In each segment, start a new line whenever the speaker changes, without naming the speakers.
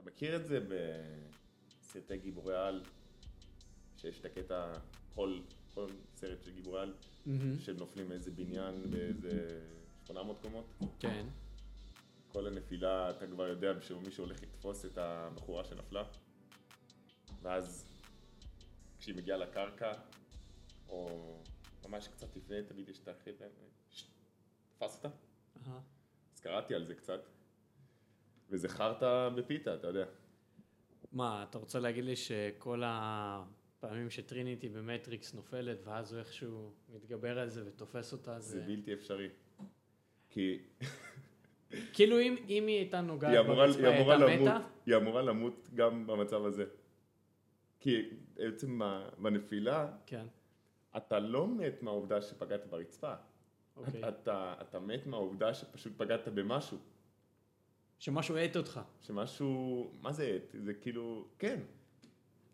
מכיר את זה בסרטי גיבורי על, שיש את הקטע, כל, כל סרט של גיבורי על,
Mm-hmm.
שהם נופלים מאיזה בניין באיזה 800 קומות.
כן.
כל הנפילה, אתה כבר יודע שמישהו הולך לתפוס את הבחורה שנפלה, ואז כשהיא מגיעה לקרקע, או ממש קצת לפני, תמיד יש את החבר'ה, "ש- תפס אותה?
אהה.
אז קראתי על זה קצת, וזה חרטא בפיתה, אתה יודע.
מה, אתה רוצה להגיד לי שכל הפעמים שטריניטי במטריקס נופלת, ואז הוא איכשהו מתגבר על זה ותופס אותה,
זה
זה...
בלתי אפשרי. כי
כאילו אם אם היא הייתה
היא
נוגעת
אמורה,
ברצפה,
היא,
היא
אמורה
הייתה
למות,
מתה?
היא אמורה למות גם במצב הזה. כי בעצם ה- בנפילה,
כן,
אתה לא מת מהעובדה שפגעת ברצפה.
אוקיי.
אתה, אתה מת מהעובדה שפשוט פגעת במשהו.
שמשהו האט אותך.
שמשהו, מה זה עט? זה כאילו, כן.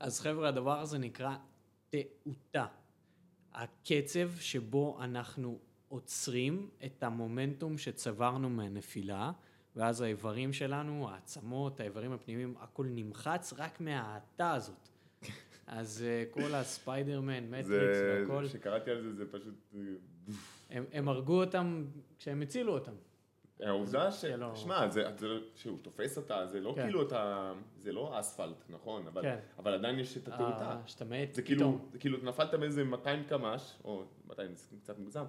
אז חבר'ה, הדבר הזה נקרא תעותה. הקצב שבו אנחנו עוצרים את המומנטום שצברנו מהנפילה, ואז האיברים שלנו, העצמות, האיברים הפנימיים, הכל נמחץ רק מההאטה הזאת. אז אה, כל הספיידרמן, מטריקס
זה,
והכל,
כשקראתי על זה, זה פשוט... אה,
הם, הם הרגו אותם כשהם הצילו אותם.
העובדה ש...
שלא-
שמע, זה- זה- שהוא תופס אותה, זה לא
לא- כן.
כאילו אתה... זה לא אספלט, נכון? אבל-
כן.
אבל עדיין יש את התעודה.
אה, שאתה מת
זה כאילו,
פתאום.
זה כאילו נפלת באיזה 200 קמ"ש, או 200 זה קצת מוגזם,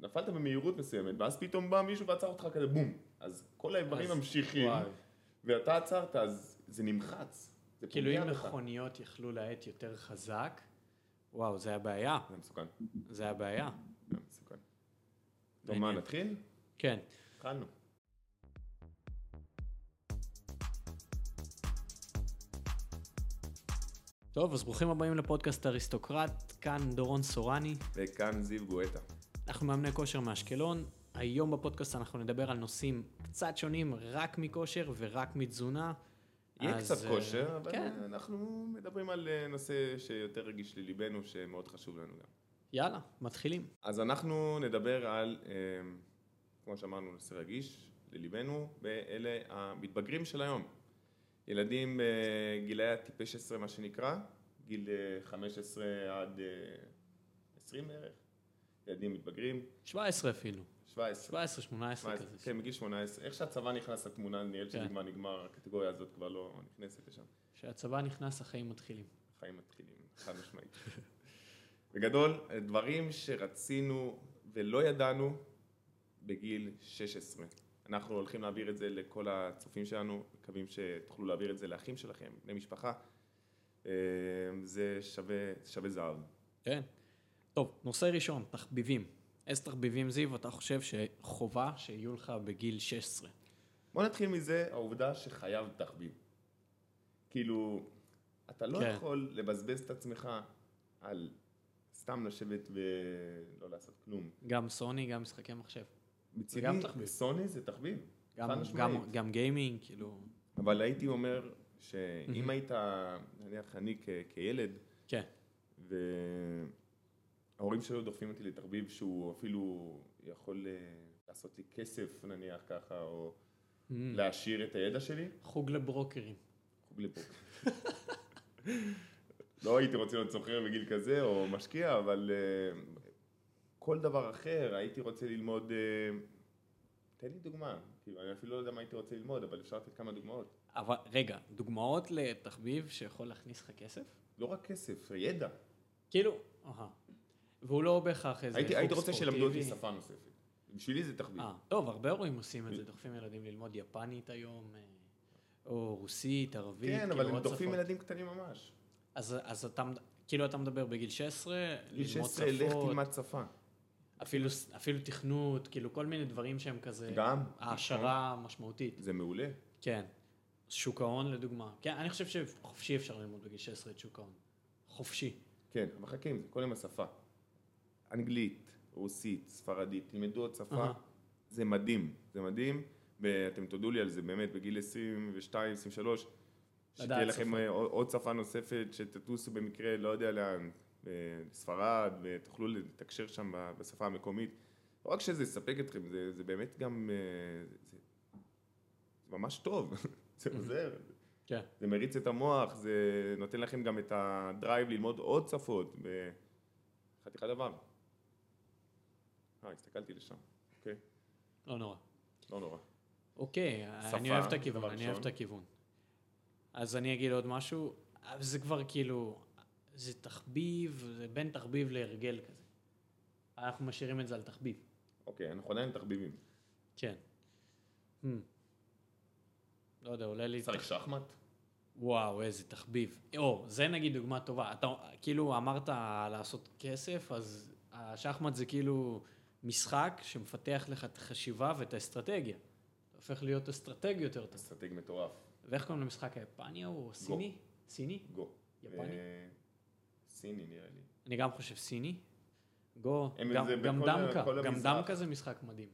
נפלת במהירות מסוימת, ואז פתאום בא מישהו ועצר אותך כזה בום. אז כל האיברים
אז-
ממשיכים,
וואי.
ואתה עצרת, אז זה נמחץ. זה
כאילו
פוגע
אם
בך.
מכוניות יכלו להאט יותר חזק, וואו, זה הבעיה,
זה אה, מסוכן,
זה הבעיה.
זה מסוכן. טוב, מה,
מעניין.
נתחיל?
כן.
התחלנו.
טוב, אז ברוכים הבאים לפודקאסט אריסטוקרט, כאן דורון סורני,
וכאן זיו גואטה.
אנחנו מאמני כושר מאשקלון. היום בפודקאסט אנחנו נדבר על נושאים קצת שונים, רק מכושר ורק מתזונה.
יהיה
אז,
קצת
אה,
כושר, אבל
כן,
אנחנו מדברים על אה, נושא שיותר רגיש לליבנו, שמאוד חשוב לנו גם.
יאללה, מתחילים.
אז אנחנו נדבר על, אה, כמו שאמרנו, נושא רגיש לליבנו, ואלה המתבגרים של היום. ילדים בגילאי הטיפש עשרה, מה שנקרא, גיל אה, 15 עד אה, 20 בערך. ילדים מתבגרים,
17 אפילו,
17.
17, 18
18,
כזה.
כן, מגיל 18. איך שהצבא נכנס לתמונה, נראה שזה
כן.
כבר נגמר, הקטגוריה הזאת כבר לא נכנסת לשם.
כשהצבא נכנס, החיים מתחילים.
החיים מתחילים, חד משמעית. בגדול, דברים שרצינו ולא ידענו בגיל 16. אנחנו הולכים להעביר את זה לכל הצופים שלנו, מקווים שתוכלו להעביר את זה לאחים שלכם, בני משפחה. אה, זה שווה, שווה זהב.
כן. טוב, נושא ראשון, תחביבים. איזה תחביבים, זיו, אתה חושב שחובה שיהיו לך בגיל 16?
בוא נתחיל מזה, העובדה שחייב תחביב. כאילו, אתה לא
כן.
יכול לבזבז את עצמך על סתם לשבת ולא לעשות כלום.
גם סוני, גם משחקי מחשב.
מצידי,
תחביב.
סוני זה תחביב.
גם,
חד משמעית.
גם, גם גיימינג, כאילו...
אבל הייתי אומר שאם
מהמם.
היית, נניח אני כ- כילד,
כן.
וההורים שלי היו דוחפים אותי לתחביב שהוא אפילו יכול אה, לעשות לי כסף נניח ככה, או לא, להעשיר את הידע שלי,
חוג לברוקרים.
חוג לפה. לא הייתי רוצה להיות סוחר בגיל כזה או משקיע, אבל אה, כל דבר אחר הייתי רוצה ללמוד, אה, תן לי דוגמה, כאילו אני אפילו לא יודע מה הייתי רוצה ללמוד, אבל אפשר לתת כמה דוגמאות.
אבל רגע, דוגמאות לתחביב שיכול להכניס לך כסף?
לא רק כסף, ידע.
כאילו, אהה. והוא לא בהכרח איזה
הייתי,
חוג
הייתי רוצה
ספורטיבי.
שילמדו אותי שפה נוספת. בשבילי זה תחביב.
אה, טוב, הרבה הורים עושים את זה, דוחפים ילדים ללמוד יפנית היום, אה, או רוסית, ערבית,
כן,
כאילו
אבל הם
עוד
דוחפים
שפות.
ילדים קטנים ממש.
אז, אז אתה, מד- כאילו אתה מדבר בגיל 16,
גיל
ללמוד
16, לך
שפות,
תלמד שפה.
אפילו, אפילו תכנות, כאילו כל מיני דברים שהם כזה...
גם. נכון.
העשרה משמעותית.
זה מעולה.
כן. שוק ההון לדוגמה. כן, אני חושב שחופשי אפשר ללמוד בגיל 16 את שוק ההון. חופשי.
כן, אבל חכה עם זה, כל עם השפה. אנגלית, רוסית, ספרדית, תלמדו עוד שפה.
אהה.
זה מדהים, זה מדהים, ואתם תודו לי על זה באמת בגיל 22, 23. שתהיה
לדעת
לכם
שפה.
אה, עוד עוד שפה נוספת, שתטוסו במקרה, לא יודע לאן, אה, לספרד, ותוכלו לתקשר שם ב- בשפה המקומית. לא רק שזה יספק אתכם, זה, זה באמת גם... אה, זה, זה ממש טוב, זה עוזר.
Mm-hmm. כן.
זה מריץ את המוח, זה נותן לכם גם את הדרייב ללמוד עוד שפות. ב- חתיכת דבר. אה, הסתכלתי לשם. אוקיי,
לא נורא.
לא נורא.
אוקיי,
שפה,
אני אוהב את
דבר
הכיוון, אני אוהב
ראשון.
את הכיוון. אז אני אגיד עוד משהו, אבל זה כבר כאילו, זה תחביב, זה בין תחביב להרגל כזה. אנחנו משאירים את זה על תחביב.
אוקיי, אנחנו עדיין תחביבים.
כן. Hmm. לא יודע, עולה לי...
צריך שחמט?
וואו, איזה תחביב. או, זה נגיד דוגמה טובה. אתה כאילו אמרת לעשות כסף, אז השחמט זה כאילו משחק שמפתח לך את החשיבה ואת האסטרטגיה. אתה הופך להיות אסטרטג יותר טוב.
אסטרטג מטורף.
ואיך קוראים למשחק היפני או סיני? סיני?
גו.
יפני?
אה, סיני נראה לי.
אני גם חושב סיני. גו,
הם
גם-
זה
גם
בכל ה-
דמקה,
כל
גם
המזרח.
דמקה זה משחק מדהים.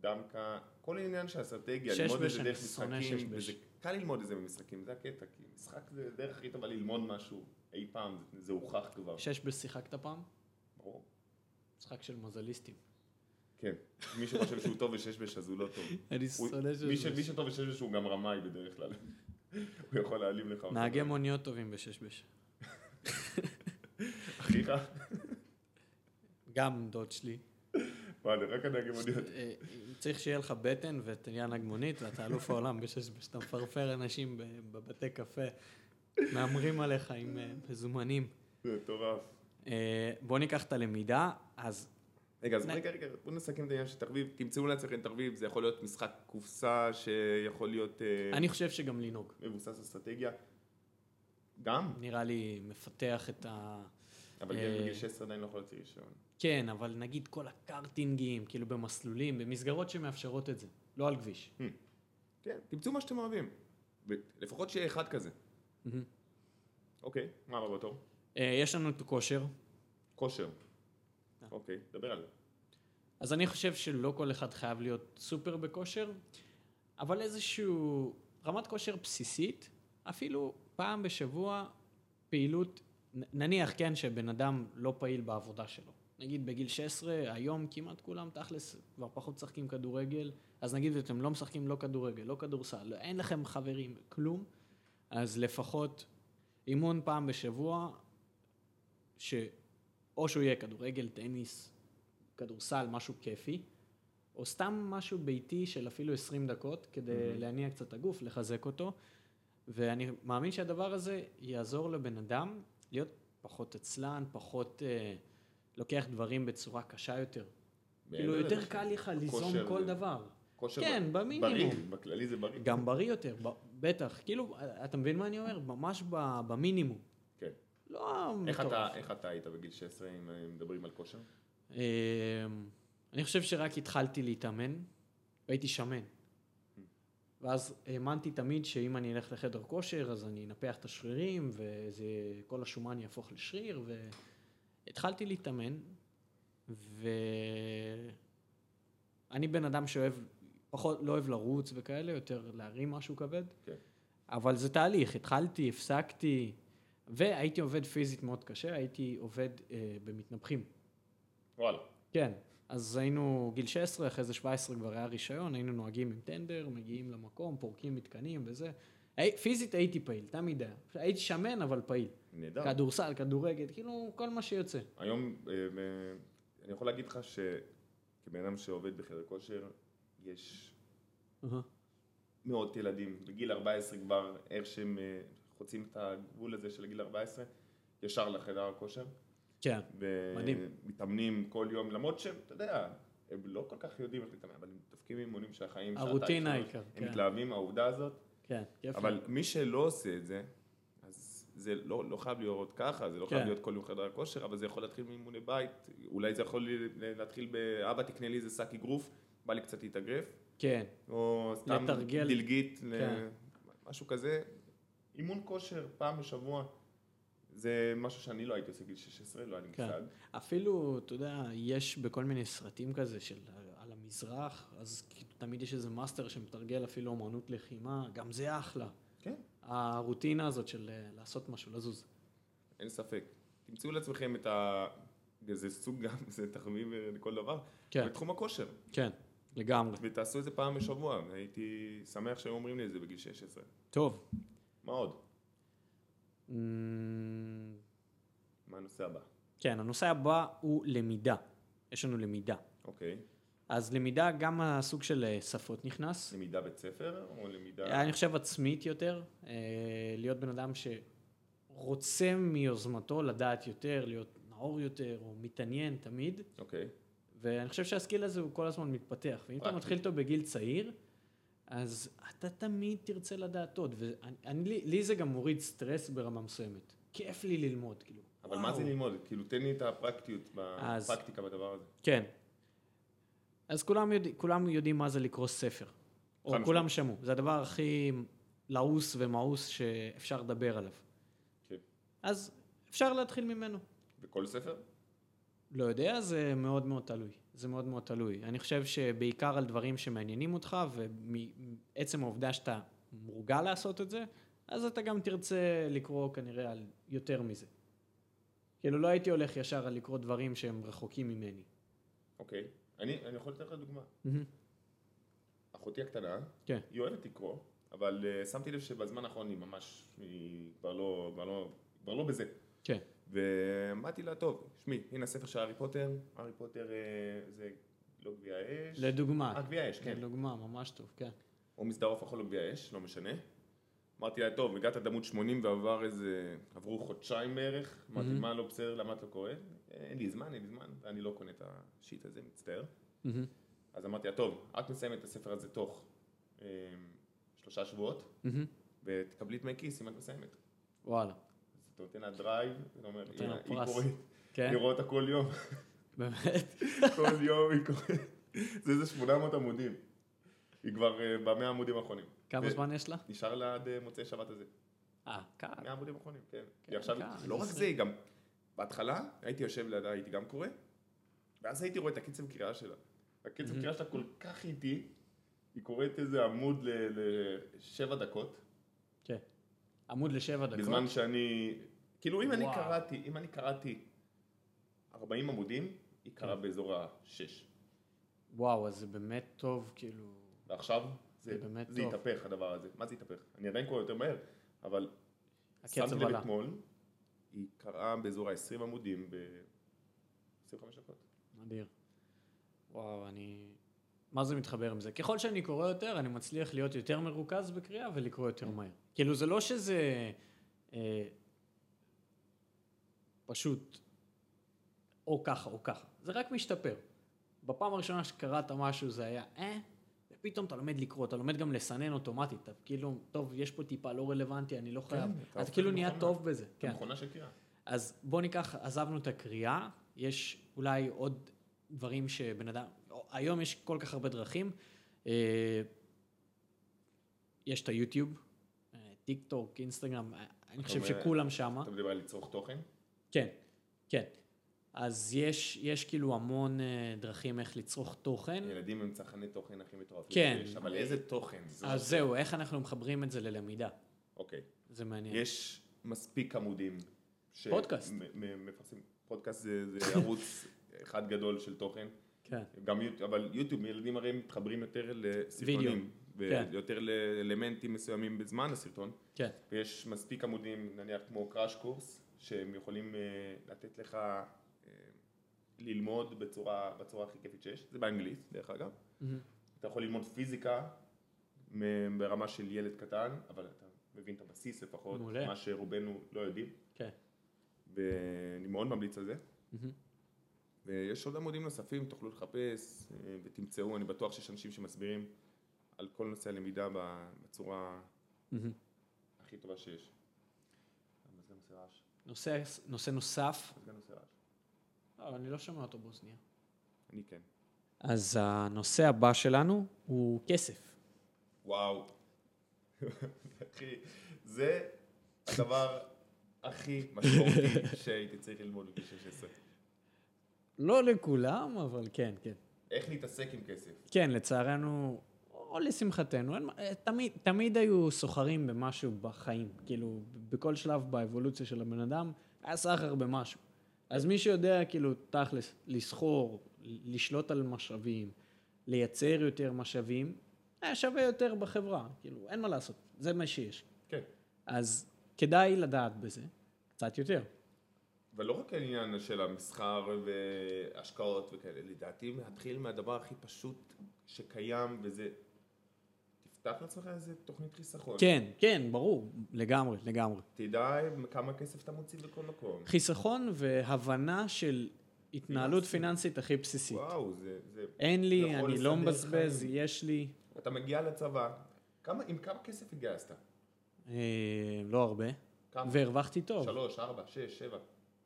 דמקה, כל העניין של אסטרטגיה,
שש
ללמוד את זה
בש,
דרך
אני שונא שש
משחקים,
בש.
וזה קל ללמוד את זה במשחקים, זה הקטע, כי משחק זה הדרך הכי טובה ללמוד משהו אי פעם, זה- זה הוכח כבר.
שש בשיחקת פעם?
ברור.
משחק של מזליסטים.
כן, מי שחושב שהוא טוב בשש בש אז הוא לא טוב.
אני
הוא-
שונא
מי
שש
ש- מי
בש.
שטוב בשש בש הוא גם רמאי בדרך כלל. הוא יכול להעלים לך. אותו.
נהגי מוניות טובים בשש בש.
אחיך,
גם דוד שלי.
מה זה, רק הנהגי מוניות.
אה, צריך שיהיה לך בטן ותהיה נגמונית ואתה אלוף העולם בשש בש. אתה מפרפר אנשים ב- בבתי קפה. מהמרים עליך עם אה, מזומנים.
זה מטורף.
אה, בוא ניקח את הלמידה, אז
רגע, אז
נ-
רגע, רגע, בואו נסכם את העניין של תחביב. תמצאו לעצמכם תחביב, זה יכול להיות משחק קופסה שיכול להיות אה,
אני חושב שגם לנהוג.
מבוסס אסטרטגיה. גם,
נראה לי מפתח את ה...
אבל
אה,
ילד בגיל 16 עדיין לא יכול להוציא רישיון.
כן, אבל נגיד כל הקארטינגים, כאילו במסלולים, במסגרות שמאפשרות את זה, לא על כביש.
כן, תמצאו מה שאתם אוהבים. ו- לפחות שיהיה אחד כזה.
מהמם.
אוקיי, מה הבא בתור?
אה, יש לנו את הכושר,
כושר.
אה.
אוקיי, דבר על זה.
אז אני חושב שלא כל אחד חייב להיות סופר בכושר, אבל איזשהו רמת כושר בסיסית, אפילו פעם בשבוע פעילות, נ- נניח כן שבן אדם לא פעיל בעבודה שלו. נגיד בגיל 16, היום כמעט כולם תכלס כבר פחות משחקים כדורגל, אז נגיד אתם לא משחקים לא כדורגל, לא כדורסל, לא- אין לכם חברים, כלום, אז לפחות אימון פעם בשבוע, שאו שהוא יהיה כדורגל, טניס, כדורסל, משהו כיפי, או סתם משהו ביתי של אפילו 20 דקות, כדי mm-hmm. להניע קצת את הגוף, לחזק אותו, ואני מאמין שהדבר הזה יעזור לבן אדם להיות פחות עצלן, פחות אה, לוקח דברים בצורה קשה יותר. כאילו
מעבר
יותר
לזה,
קל לך ליזום
כושר
כל
זה-
דבר.
כושר
כן,
ב-
במינימום.
בריא, בכללי זה בריא.
גם בריא יותר, ב- בטח. כאילו, אתה מבין מה אני אומר? ממש ב- במינימום.
כן.
לא
איך
מטורף.
אתה- איך אתה היית בגיל 16 אם אה, מדברים על כושר?
אמ, אני חושב שרק התחלתי להתאמן, והייתי שמן. ואז האמנתי תמיד שאם אני אלך לחדר כושר, אז אני אנפח את השרירים, וכל השומן יהפוך לשריר, והתחלתי להתאמן, ואני בן אדם שאוהב, פחות, לא אוהב לרוץ וכאלה, יותר להרים משהו כבד,
כן.
אבל זה תהליך, התחלתי, הפסקתי, והייתי עובד פיזית מאוד קשה, הייתי עובד אה, במתנפחים.
וואלה.
כן, אז היינו גיל 16, אחרי זה 17 כבר היה רישיון, היינו נוהגים עם טנדר, מגיעים למקום, פורקים מתקנים וזה. הי- פיזית הייתי פעיל, תמיד היה. הייתי שמן אבל פעיל.
נהדר.
כדורסל, כדורגל, כאילו כל מה שיוצא.
היום, אה, אה, אני יכול להגיד לך שכבן אדם שעובד בחדר כושר, יש
אהה.
מאות ילדים, בגיל 14 כבר, איך שהם אה, חוצים את הגבול הזה של גיל 14, ישר לחדר הכושר.
כן, מדהים.
ומתאמנים כל יום, למרות שהם, אתה יודע, הם לא כל כך יודעים איך להתאמן, אבל הם דופקים אימונים של החיים. שעתיים,
הרוטינה
שלוש.
העיקר,
הם
כן.
מתלהבים מהעובדה הזאת,
כן, כיף.
אבל מי שלא עושה את זה, אז זה לא, לא חייב להיות ככה, זה לא חייב
כן.
להיות כל יום חדר כושר, אבל זה יכול להתחיל מאימוני בית, אולי זה יכול ל- להתחיל באבא תקנה לי איזה שק אגרוף, בא לי קצת להתאגרף,
כן,
או סתם
לתרגל.
דלגית,
כן.
ל... משהו כזה. אימון כושר פעם בשבוע, זה משהו שאני לא הייתי עושה בגיל 16, לא היה לי
כן.
מושג.
אפילו, אתה יודע, יש בכל מיני סרטים כזה של על המזרח, אז כאילו תמיד יש איזה מאסטר שמתרגל אפילו אומנות לחימה, גם זה אחלה.
כן.
הרוטינה הזאת של אה, לעשות משהו, לזוז.
אין ספק. תמצאו לעצמכם את ה... זה סוג גם, זה תחביב אה, לכל דבר,
כן.
בתחום הכושר.
כן, לגמרי.
ותעשו את זה פעם בשבוע, הייתי שמח שהיו אומרים לי את זה בגיל 16.
טוב,
מה עוד?
Mm,
מה הנושא הבא?
כן, הנושא הבא הוא למידה. יש לנו למידה.
אוקיי.
אז למידה, גם הסוג של אה, שפות נכנס.
למידה בית ספר או למידה...
אני חושב עצמית יותר, אה, להיות בן אדם שרוצה מיוזמתו לדעת יותר, להיות נאור יותר, או מתעניין תמיד,
אוקיי.
ואני חושב שהסקיל הזה הוא כל הזמן מתפתח, ואם אתה
פרקטי.
מתחיל אותו בגיל צעיר, אז אתה תמיד תרצה לדעת עוד, ולי זה גם מוריד סטרס ברמה מסוימת. כיף לי ללמוד, כאילו.
אבל מה זה
וואו.
ללמוד? כאילו, תן לי את הפרקטיות,
אז-
הפרקטיקה בדבר הזה.
כן. אז כולם, יודע, כולם יודעים מה זה לקרוא ספר. או
משמעית.
כולם שמעו. זה הדבר הכי לעוס ומאוס שאפשר לדבר עליו.
כן.
אז אפשר להתחיל ממנו.
בכל ספר?
לא יודע, זה מאוד מאוד תלוי. זה מאוד מאוד תלוי. אני חושב שבעיקר על דברים שמעניינים אותך, ומעצם העובדה שאתה מורגל לעשות את זה, אז אתה גם תרצה לקרוא כנראה על יותר מזה. כאילו, לא הייתי הולך ישר על לקרוא דברים שהם רחוקים ממני.
אוקיי. אני אני יכול לתת לך דוגמה. אחותי הקטנה,
כן.
היא אוהבת לקרוא, אבל אה, שמתי לב שבזמן האחרון היא ממש, היא כבר לא, כבר לא, כבר לא בזה.
כן.
ואמרתי לה, טוב, שמי, הנה הספר של הארי פוטר, הארי פוטר אה, זה לא גביע האש.
לדוגמה.
אה, גביע האש, כן.
כן, דוגמה, ממש טוב, כן.
או מסדר עוף או גביע האש, לא משנה. אמרתי לה, טוב, הגעת עד עמוד 80 ועבר איזה, עברו חודשיים בערך, אמרתי,
מהמם.
מה לא בסדר, למה את לא קוראת? אין לי זמן, אין לי זמן, ואני לא קונה את השיט הזה, מצטער. אז אמרתי לה, טוב, את מסיימת את הספר הזה תוך אה, שלושה שבועות, ותקבלי דמי כיס אם את מסיימת.
וואלה.
אז אתה נותן לה דרייב, אתה אומר,
נותן
"הנה,
לה
היא
פרס."
קוראת,
כן,
אני רואה אותה כל יום,
באמת.
כל יום היא קוראת, זה איזה 800 עמודים. היא כבר אה, במאה עמודים האחרונים.
כמה
ו-
זמן יש לה?
נשאר לה עד אה, מוצאי שבת הזה.
אה, קר.
מאה עמודים אחרונים, כן.
כן,
היא עכשיו,
ככה,
לא
זה
רק
זה.
זה, היא גם, בהתחלה הייתי יושב לידה, הייתי גם קורא, ואז הייתי רואה את הקצב קריאה שלה. הקצב
Mhm.
קריאה שלה כל כך איטי, היא קוראת איזה עמוד ל- לשבע דקות,
כן. עמוד לשבע דקות.
בזמן שאני, כאילו אם אני
וואו.
קראתי, אם אני קראתי 40 עמודים, היא קראה
כן.
באזור השש.
וואו, אז זה באמת טוב, כאילו...
ועכשיו, זה
זה באמת
זה
טוב.
התהפך הדבר הזה. מה זה התהפך? אני עדיין קורא יותר מהר, אבל שמתי
הקצב
לב
עלה.
אתמול, היא קראה באזור ה-20 עמודים ב-25 דקות.
אדיר. וואו, אני... מה זה מתחבר עם זה? ככל שאני קורא יותר, אני מצליח להיות יותר מרוכז בקריאה ולקרוא יותר מהר. כאילו, זה לא שזה אה, פשוט או ככה או ככה, זה רק משתפר. בפעם הראשונה שקראת משהו זה היה אה, ופתאום אתה לומד לקרוא, אתה לומד גם לסנן אוטומטית, אתה כאילו, טוב, יש פה טיפה לא רלוונטי, אני לא חייב,
אתה
אתה
הופך
כאילו נהיה
מכונה.
טוב בזה. כן.
מכונה של קריאה.
אז בואו ניקח, עזבנו את הקריאה, יש אולי עוד דברים שבן אדם, היום יש כל כך הרבה דרכים. אה, יש את היוטיוב, אה, טיק טוק, אינסטגרם, אה, אני חושב
אומר-
שכולם שמה.
אתה מדבר על לצרוך תוכן?
כן, כן. אז יש, יש כאילו המון אה, דרכים איך לצרוך תוכן.
ילדים הם צרכני תוכן הכי מטורפים.
כן.
שיש, אבל איזה תוכן?
אז זהו, איך אנחנו מחברים את זה ללמידה?
אוקיי.
זה מעניין.
יש מספיק עמודים. ש-
פודקאסט.
מ- מ- מפרסמים. פודקאסט זה זה ערוץ אחד גדול של תוכן.
כן.
גם יוטיוב, אבל יוטיוב, ילדים הרי מתחברים יותר לסרטונים.
כן.
ויותר לאלמנטים מסוימים בזמן הסרטון.
כן.
ויש מספיק עמודים, נניח כמו קראש קורס, שהם יכולים אה, לתת לך אה, ללמוד בצורה, בצורה הכי כיפית שיש. זה באנגלית, דרך אגב.
מהמם.
אתה יכול ללמוד פיזיקה מ- ברמה של ילד קטן, אבל אתה מבין את הבסיס לפחות,
מעולה.
מה שרובנו לא יודעים,
כן.
ואני מאוד ממליץ על זה.
מהמם.
ויש עוד עמודים נוספים, תוכלו לחפש אה, ותמצאו, אני בטוח שיש אנשים שמסבירים על כל נושא הלמידה ב- בצורה
מהמם.
הכי טובה שיש. המזגן עושה רעש,
נושא, נושא נוסף,
המזגן עושה רעש.
לא, אני לא שומע אותו באוזניה.
אני כן.
אז הנושא הבא שלנו הוא כסף.
וואו. אחי, זה הדבר הכי משמעותי שהייתי צריך ללמוד בגיל 16.
לא לכולם, אבל כן, כן.
איך להתעסק עם כסף.
כן, לצערנו, או לשמחתנו, אין, מה- אה, תמיד, תמיד היו סוחרים במשהו בחיים. כאילו, בכל שלב באבולוציה של הבן אדם, היה סחר במשהו. אז מי שיודע, כאילו, תכלס, לסחור, לשלוט על משאבים, לייצר אה, יותר משאבים, היה שווה יותר בחברה. כאילו, אין מה לעשות, זה מה שיש.
כן.
אז כדאי לדעת בזה קצת יותר.
אבל לא רק העניין של המסחר והשקעות וכאלה, לדעתי להתחיל מהדבר הכי פשוט שקיים, וזה... תפתח לעצמך איזה תוכנית חיסכון.
כן, כן, ברור, לגמרי, לגמרי.
תדע כמה כסף אתה מוציא בכל מקום.
חיסכון והבנה של התנהלות
פיננסית.
פיננסית הכי בסיסית.
וואו, זה... זה
אין לי,
יכול
אני לא
לסדר
מבזבז,
חיים.
יש לי.
אתה מגיע לצבא, כמה, עם כמה כסף התגייסת?
אה, לא הרבה.
כמה?
והרווחתי טוב.
שלוש, ארבע, שש, שבע,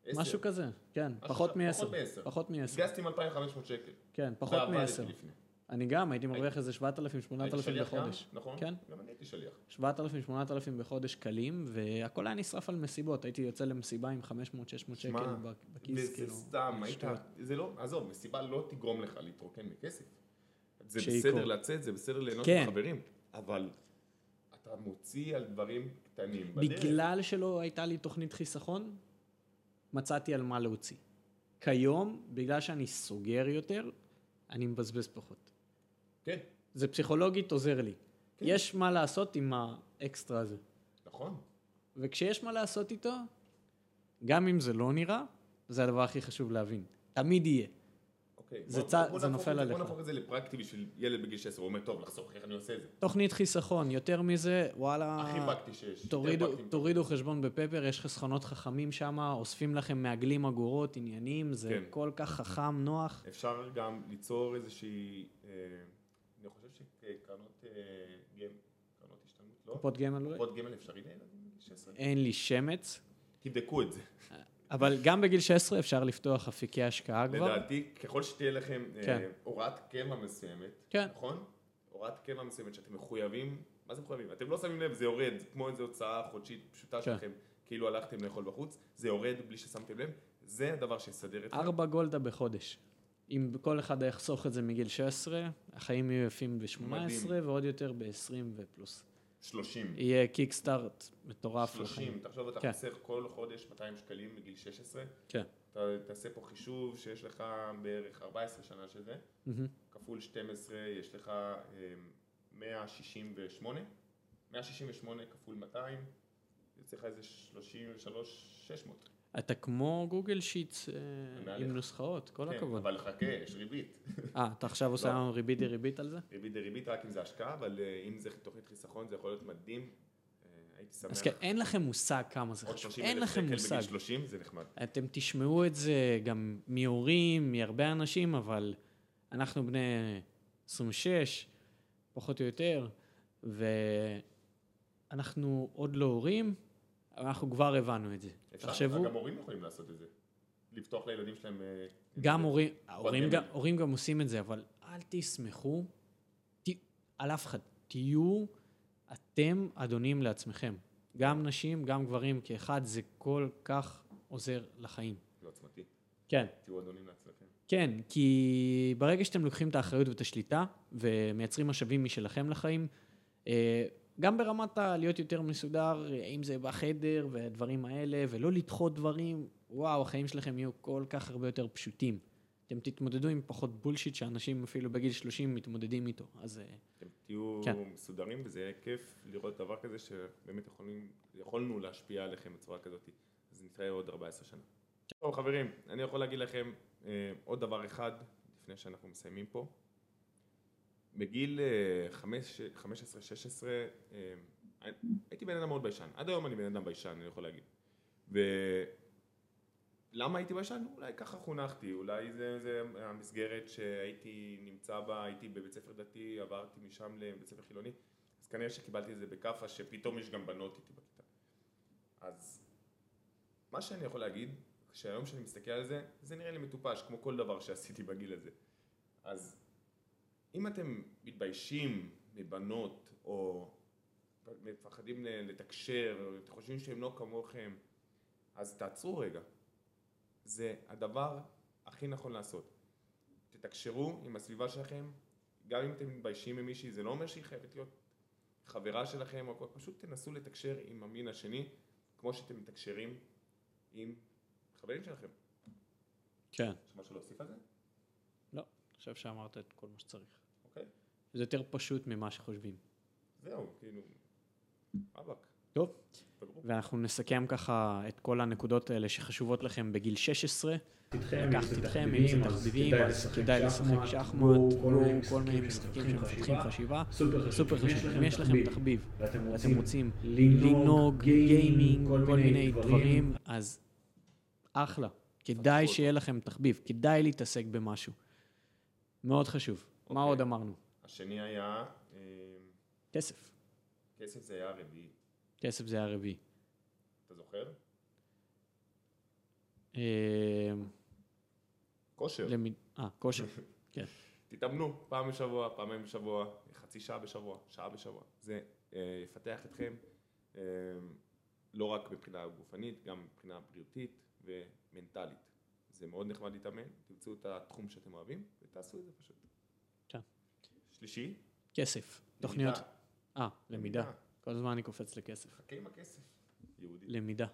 עשר.
משהו כזה, כן,
משהו
פחות
כזה,
מעשר.
פחות מעשר.
פחות מעשר.
התגייסתי עם 2,500 שקל.
כן, פחות
ועבדתי
מעשר.
לפני.
אני גם הייתי מרוויח
הייתי-
איזה 7,000, 8,000
הייתי שליח גם,
בחודש.
נכון?
כן.
גם אני הייתי שליח.
7,000, 8,000 בחודש קלים, והכל היה נשרף על מסיבות. הייתי יוצא למסיבה עם 500, 600 שקל
שמע,
ב- בכיס,
וזה
כאילו.
סתם, היית...
שטויות.
זה לא... עזוב, מסיבה לא תגרום לך להתרוקן מכסף. זה
שהיא
בסדר
קור-
לצאת, זה בסדר ליהנות
כן.
עם חברים, אבל אתה מוציא על דברים קטנים. בדרך.
בגלל שלא הייתה לי תוכנית חיסכון, מצאתי על מה להוציא. כיום, בגלל שאני סוגר יותר, אני מבזבז פחות.
כן,
זה פסיכולוגית עוזר לי.
כן.
יש מה לעשות עם האקסטרה הזה.
נכון.
וכשיש מה לעשות איתו, גם אם זה לא נראה, זה הדבר הכי חשוב להבין. תמיד יהיה.
אוקיי.
זה
בוא-
צע-
בוא
זה
נהפוך
נופל
את בוא
עליך.
נהפוך את זה לפרקטי בשביל ילד בגיל 16, הוא אומר, טוב, לחסוך, איך אני עושה את זה?
תוכנית חיסכון, יותר מזה, וואלה...
הכי פרקטי שיש.
אה, תורידו,
יותר פרקטי.
תורידו חשבון בפפר, יש חסכונות חכמים שם, אוספים לכם מעגלים אגורות, עניינים, זה
כן. אה,
כל כך חכם, נוח.
אפשר גם ליצור איזושהי, אה, אני חושב שקרנות אה, גמל, קרנות השתלמות, לא?
קופות גמל אולי?
קופות גמל אפשרי לילדים בגיל 16?
אין לי שמץ,
תבדקו את זה.
אבל גם בגיל 16 אפשר לפתוח אפיקי השקעה כבר.
לדעתי, ככל שתהיה לכם אה,
כן.
הוראת קבע מסוימת,
כן.
נכון? הוראת קבע מסוימת שאתם מחויבים, מה זה מחויבים? אתם לא שמים לב, זה יורד, זה כמו איזו הוצאה חודשית פשוטה
כן.
שלכם, כאילו הלכתם לאכול בחוץ, זה יורד בלי ששמתם לב, זה הדבר שיסדר אתכם.
ארבע גולדה בחודש. אם כל אחד היה יחסוך את זה מגיל 16, החיים יהיו יפים ב-18
מדהים.
ועוד יותר ב-20 ופלוס.
30.
יהיה קיקסטארט מטורף לחיים.
30, תחשוב, אתה
כן.
חוסך כל חודש 200 שקלים מגיל 16,
כן.
אתה תעשה פה חישוב שיש לך בערך 14 שנה של זה,
מהמם.
כפול 12 יש לך אמ, 168, 168 כפול 200, יוצא לך איזה 33, 600.
אתה כמו גוגל שיטס אה,
ענה
עם
לך.
נוסחאות, כל
כן,
הכבוד.
אבל חכה, יש ריבית.
אה, אתה עכשיו עושה
לא.
לנו ריבית דריבית על זה?
ריבית דריבית רק אם זה השקעה, אבל אה, אם זה תוכנית חיסכון זה יכול להיות מדהים. אה, הייתי שמח.
אז כן, אין לכם מושג כמה זה
עוד
חשוב.
30
אין
אלף
לכם
שקל
מושג.
בגיל 30 זה נחמד.
אתם תשמעו את זה גם מהורים, מהרבה אנשים, אבל אנחנו בני 26, פחות או יותר, ואנחנו עוד לא הורים, אבל אנחנו כבר הבנו את זה.
אפשר,
תחשבו,
גם הורים יכולים לעשות את זה. לפתוח לילדים שלהם... אה,
גם
אה,
הורים, ההורים
גמל.
גם- הורים גם עושים את זה, אבל אל תסמכו ת- על אף אחד. תהיו אתם אדונים לעצמכם. גם נשים, גם גברים כאחד, זה כל כך עוזר לחיים.
זה עוצמתי.
כן.
תהיו אדונים לעצמכם.
כן, כי ברגע שאתם לוקחים את האחריות ואת השליטה ומייצרים משאבים משלכם לחיים, אה, גם ברמת ה- להיות יותר מסודר, אה, אם זה בחדר והדברים האלה, ולא לדחות דברים, וואו, החיים שלכם יהיו כל כך הרבה יותר פשוטים. אתם תתמודדו עם פחות בולשיט שאנשים אפילו בגיל 30 מתמודדים איתו, אז אה,
אתם תהיו
כן.
מסודרים וזה יהיה כיף לראות דבר כזה שבאמת יכולים, יכולנו להשפיע עליכם בצורה כזאת. אז נתראה עוד 14 שנה. טוב חברים, אני יכול להגיד לכם אה, עוד דבר אחד לפני שאנחנו מסיימים פה. בגיל אה, 15-16 אה, הייתי בן אדם מאוד ביישן. עד היום אני בן אדם ביישן, אני יכול להגיד. ולמה הייתי ביישן? אולי ככה חונכתי, אולי זה, זה המסגרת שהייתי נמצא בה, הייתי בבית ספר דתי, עברתי משם לבית ספר חילוני, אז כנראה שקיבלתי את זה בכאפה, שפתאום יש גם בנות איתי בכיתה. אז מה שאני יכול להגיד, שהיום שאני מסתכל על זה, זה נראה לי מטופש, כמו כל דבר שעשיתי בגיל הזה. אז אם אתם מתביישים מבנות, או מפחדים ל- לתקשר, או אתם חושבים שהם לא כמוכם, אז תעצרו רגע. זה הדבר הכי נכון לעשות. תתקשרו עם הסביבה שלכם, גם אם אתם מתביישים ממישהי, זה לא אומר שהיא חייבת להיות חברה שלכם, או הכל. פשוט תנסו לתקשר עם המין השני, כמו שאתם מתקשרים עם חברים שלכם.
כן.
יש משהו להוסיף על זה?
לא, אני חושב שאמרת את כל מה שצריך.
אוקיי.
זה יותר פשוט ממה שחושבים.
זהו, כאילו, רבאק.
טוב. ואנחנו נסכם ככה את כל הנקודות האלה שחשובות לכם בגיל 16. לקחת איתכם, אם זה תחביבים, אז כדאי לשחק שחמט, גלו, כל מיני משחקים שמפתחים חשיבה. סופר חשוב. אם יש לכם תחביב ואתם רוצים לנהוג, גיימינג, כל מיני דברים, אז אחלה. כדאי שיהיה לכם תחביב, כדאי להתעסק במשהו. מאוד חשוב. מה
אוקיי.
עוד אמרנו?
השני היה, אה,
כסף.
כסף זה היה הרביעי,
כסף זה הרביעי.
אתה זוכר?
אה,
כושר.
למי- אה, כושר. כן.
תתאמנו פעם בשבוע, פעמיים בשבוע, חצי שעה בשבוע, שעה בשבוע. זה אה, יפתח אתכם אה, לא רק מבחינה גופנית, גם מבחינה בריאותית ומנטלית. זה מאוד נחמד להתאמן, תמצאו את התחום שאתם אוהבים ותעשו את זה פשוט.
כן.
שלישי,
כסף. תוכניות.
למידה.
אה, למידה.
למידה.
כל הזמן אני קופץ לכסף.
חכה עם הכסף, יהודי.
למידה.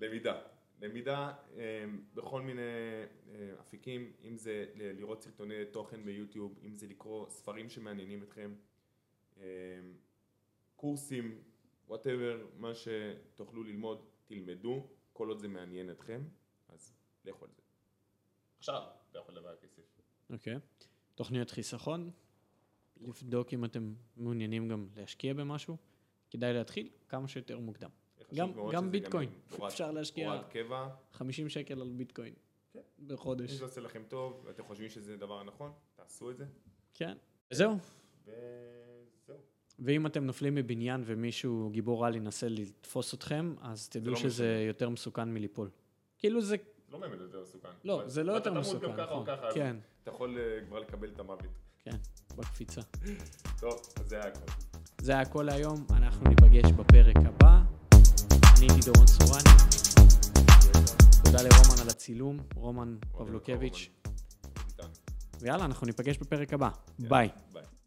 למידה. למידה אה, בכל מיני אה, אפיקים, אם זה ל- לראות סרטוני תוכן ביוטיוב, אם זה לקרוא ספרים שמעניינים אתכם, אה, קורסים, וואטאבר, מה שתוכלו ללמוד, תלמדו, כל עוד זה מעניין אתכם, אז לכו על זה. עכשיו, אתה יכול לדבר על כסף.
אוקיי. תוכניות חיסכון. לבדוק אם אתם מעוניינים גם להשקיע במשהו. כדאי להתחיל כמה שיותר מוקדם.
חשוב
גם-
מאוד
גם
שזה
ביטקוין.
הוראת-
אפשר להשקיע-
הוראת קבע,
50 שקל על ביטקוין.
כן. אם
בחודש.
זה עושה לכם טוב, ואתם חושבים שזה דבר הנכון, תעשו את זה,
כן. זהו.
וזהו.
ואם אתם נופלים מבניין ומישהו גיבור על ינסה לתפוס אתכם, אז תדעו
לא
שזה
משנה.
יותר מסוכן מליפול. כאילו זה...
לא באמת יותר מסוכן.
לא,
אבל-
זה לא
אבל
יותר
אתה תמות
מסוכן,
גם ככה או
נכון.
ככה, אז
כן,
אתה יכול אה, כבר לקבל את המוות.
כן, בקפיצה.
טוב, אז זה היה הכל.
זה היה הכל היום, אנחנו ניפגש בפרק הבא. אני הייתי דורון סורני, תודה לרומן על הצילום, רומן
אוהב אותך,
פבלוקביץ',
אוקיי, רומן. איתנו.
ויאללה, אנחנו ניפגש בפרק הבא. ביי.
ביי.